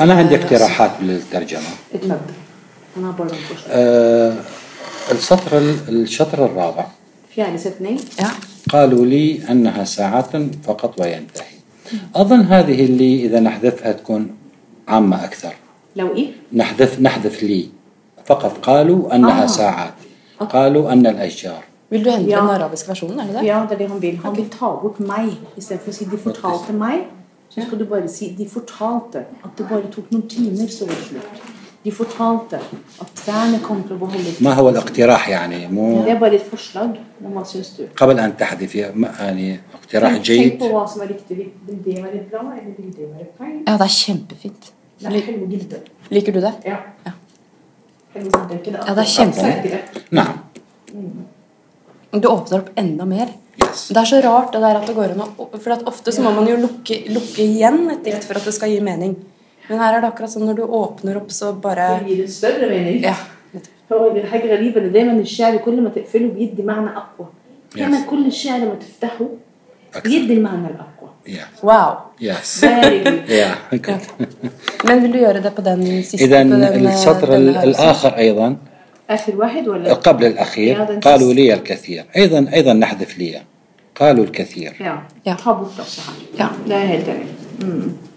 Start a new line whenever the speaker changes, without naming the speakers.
أنا عندي اقتراحات للترجمة
اتفضل انا برضه مفيش
آه، السطر ال- الشطر الرابع
في يعني ست اثنين
Ja.
قالوا لي أنها ساعة فقط وينتهي أظن هذه اللي إذا نحذفها تكون عامة أكثر
لو ايه
نحذف نحذف لي فقط قالوا أنها
آه.
ساعات قالوا أن الأشجار
Vil du hente
Ja.
den arabiske versjonen? er det det?
Ja, det er det han vil. Han vil ta bort meg. Istedenfor å si 'de fortalte meg', så skal du bare si 'de fortalte'. At det bare tok noen timer, så var det slutt. De fortalte at trærne kom til å beholde
ما هو الاقتراح يعني
Det
مو
er bare et forslag. Men hva syns du?
قبل أن تحذفي ما- يعني اقتراح
Tenk på
جيد
hva som er riktig. Vil det være bra, eller vil det være feil?
Ja, det er kjempefint.
Det er Helge Gilde.
Liker du det?
Ja.
Ja.
Helge Gilde, ikke
Ja, det er kjempefint.
Sterkere.
نعم
Du åpner opp enda mer.
Yes.
Det er så rart det der at det går an å For at ofte så må man jo lukke, lukke igjen et dikt for at det skal gi mening. Men her er det akkurat sånn når du åpner opp, så
Det
bare
gir en større mening.
Ja.
هو الحاجة غريبة إن دايما الشعر كل ما تقفله بيدي معنى أقوى. دايما
Yes.
كل الشعر لما تفتحه
أكثر.
بيدي المعنى الأقوى.
Yeah.
Wow.
Yes.
Very good.
Yeah.
Ja. Men vil du gjøre det på den siste?
إذا
på den, eh,
السطر
denne
ال-
her også?
الآخر أيضا
آخر واحد ولا؟
قبل الأخير
هذا
قالوا
نفس-
لي الكثير أيضا أيضا نحذف لي قالوا الكثير
Ja.
Ja.
Ta bort også her.
Ja.
Det er helt enig. Mm.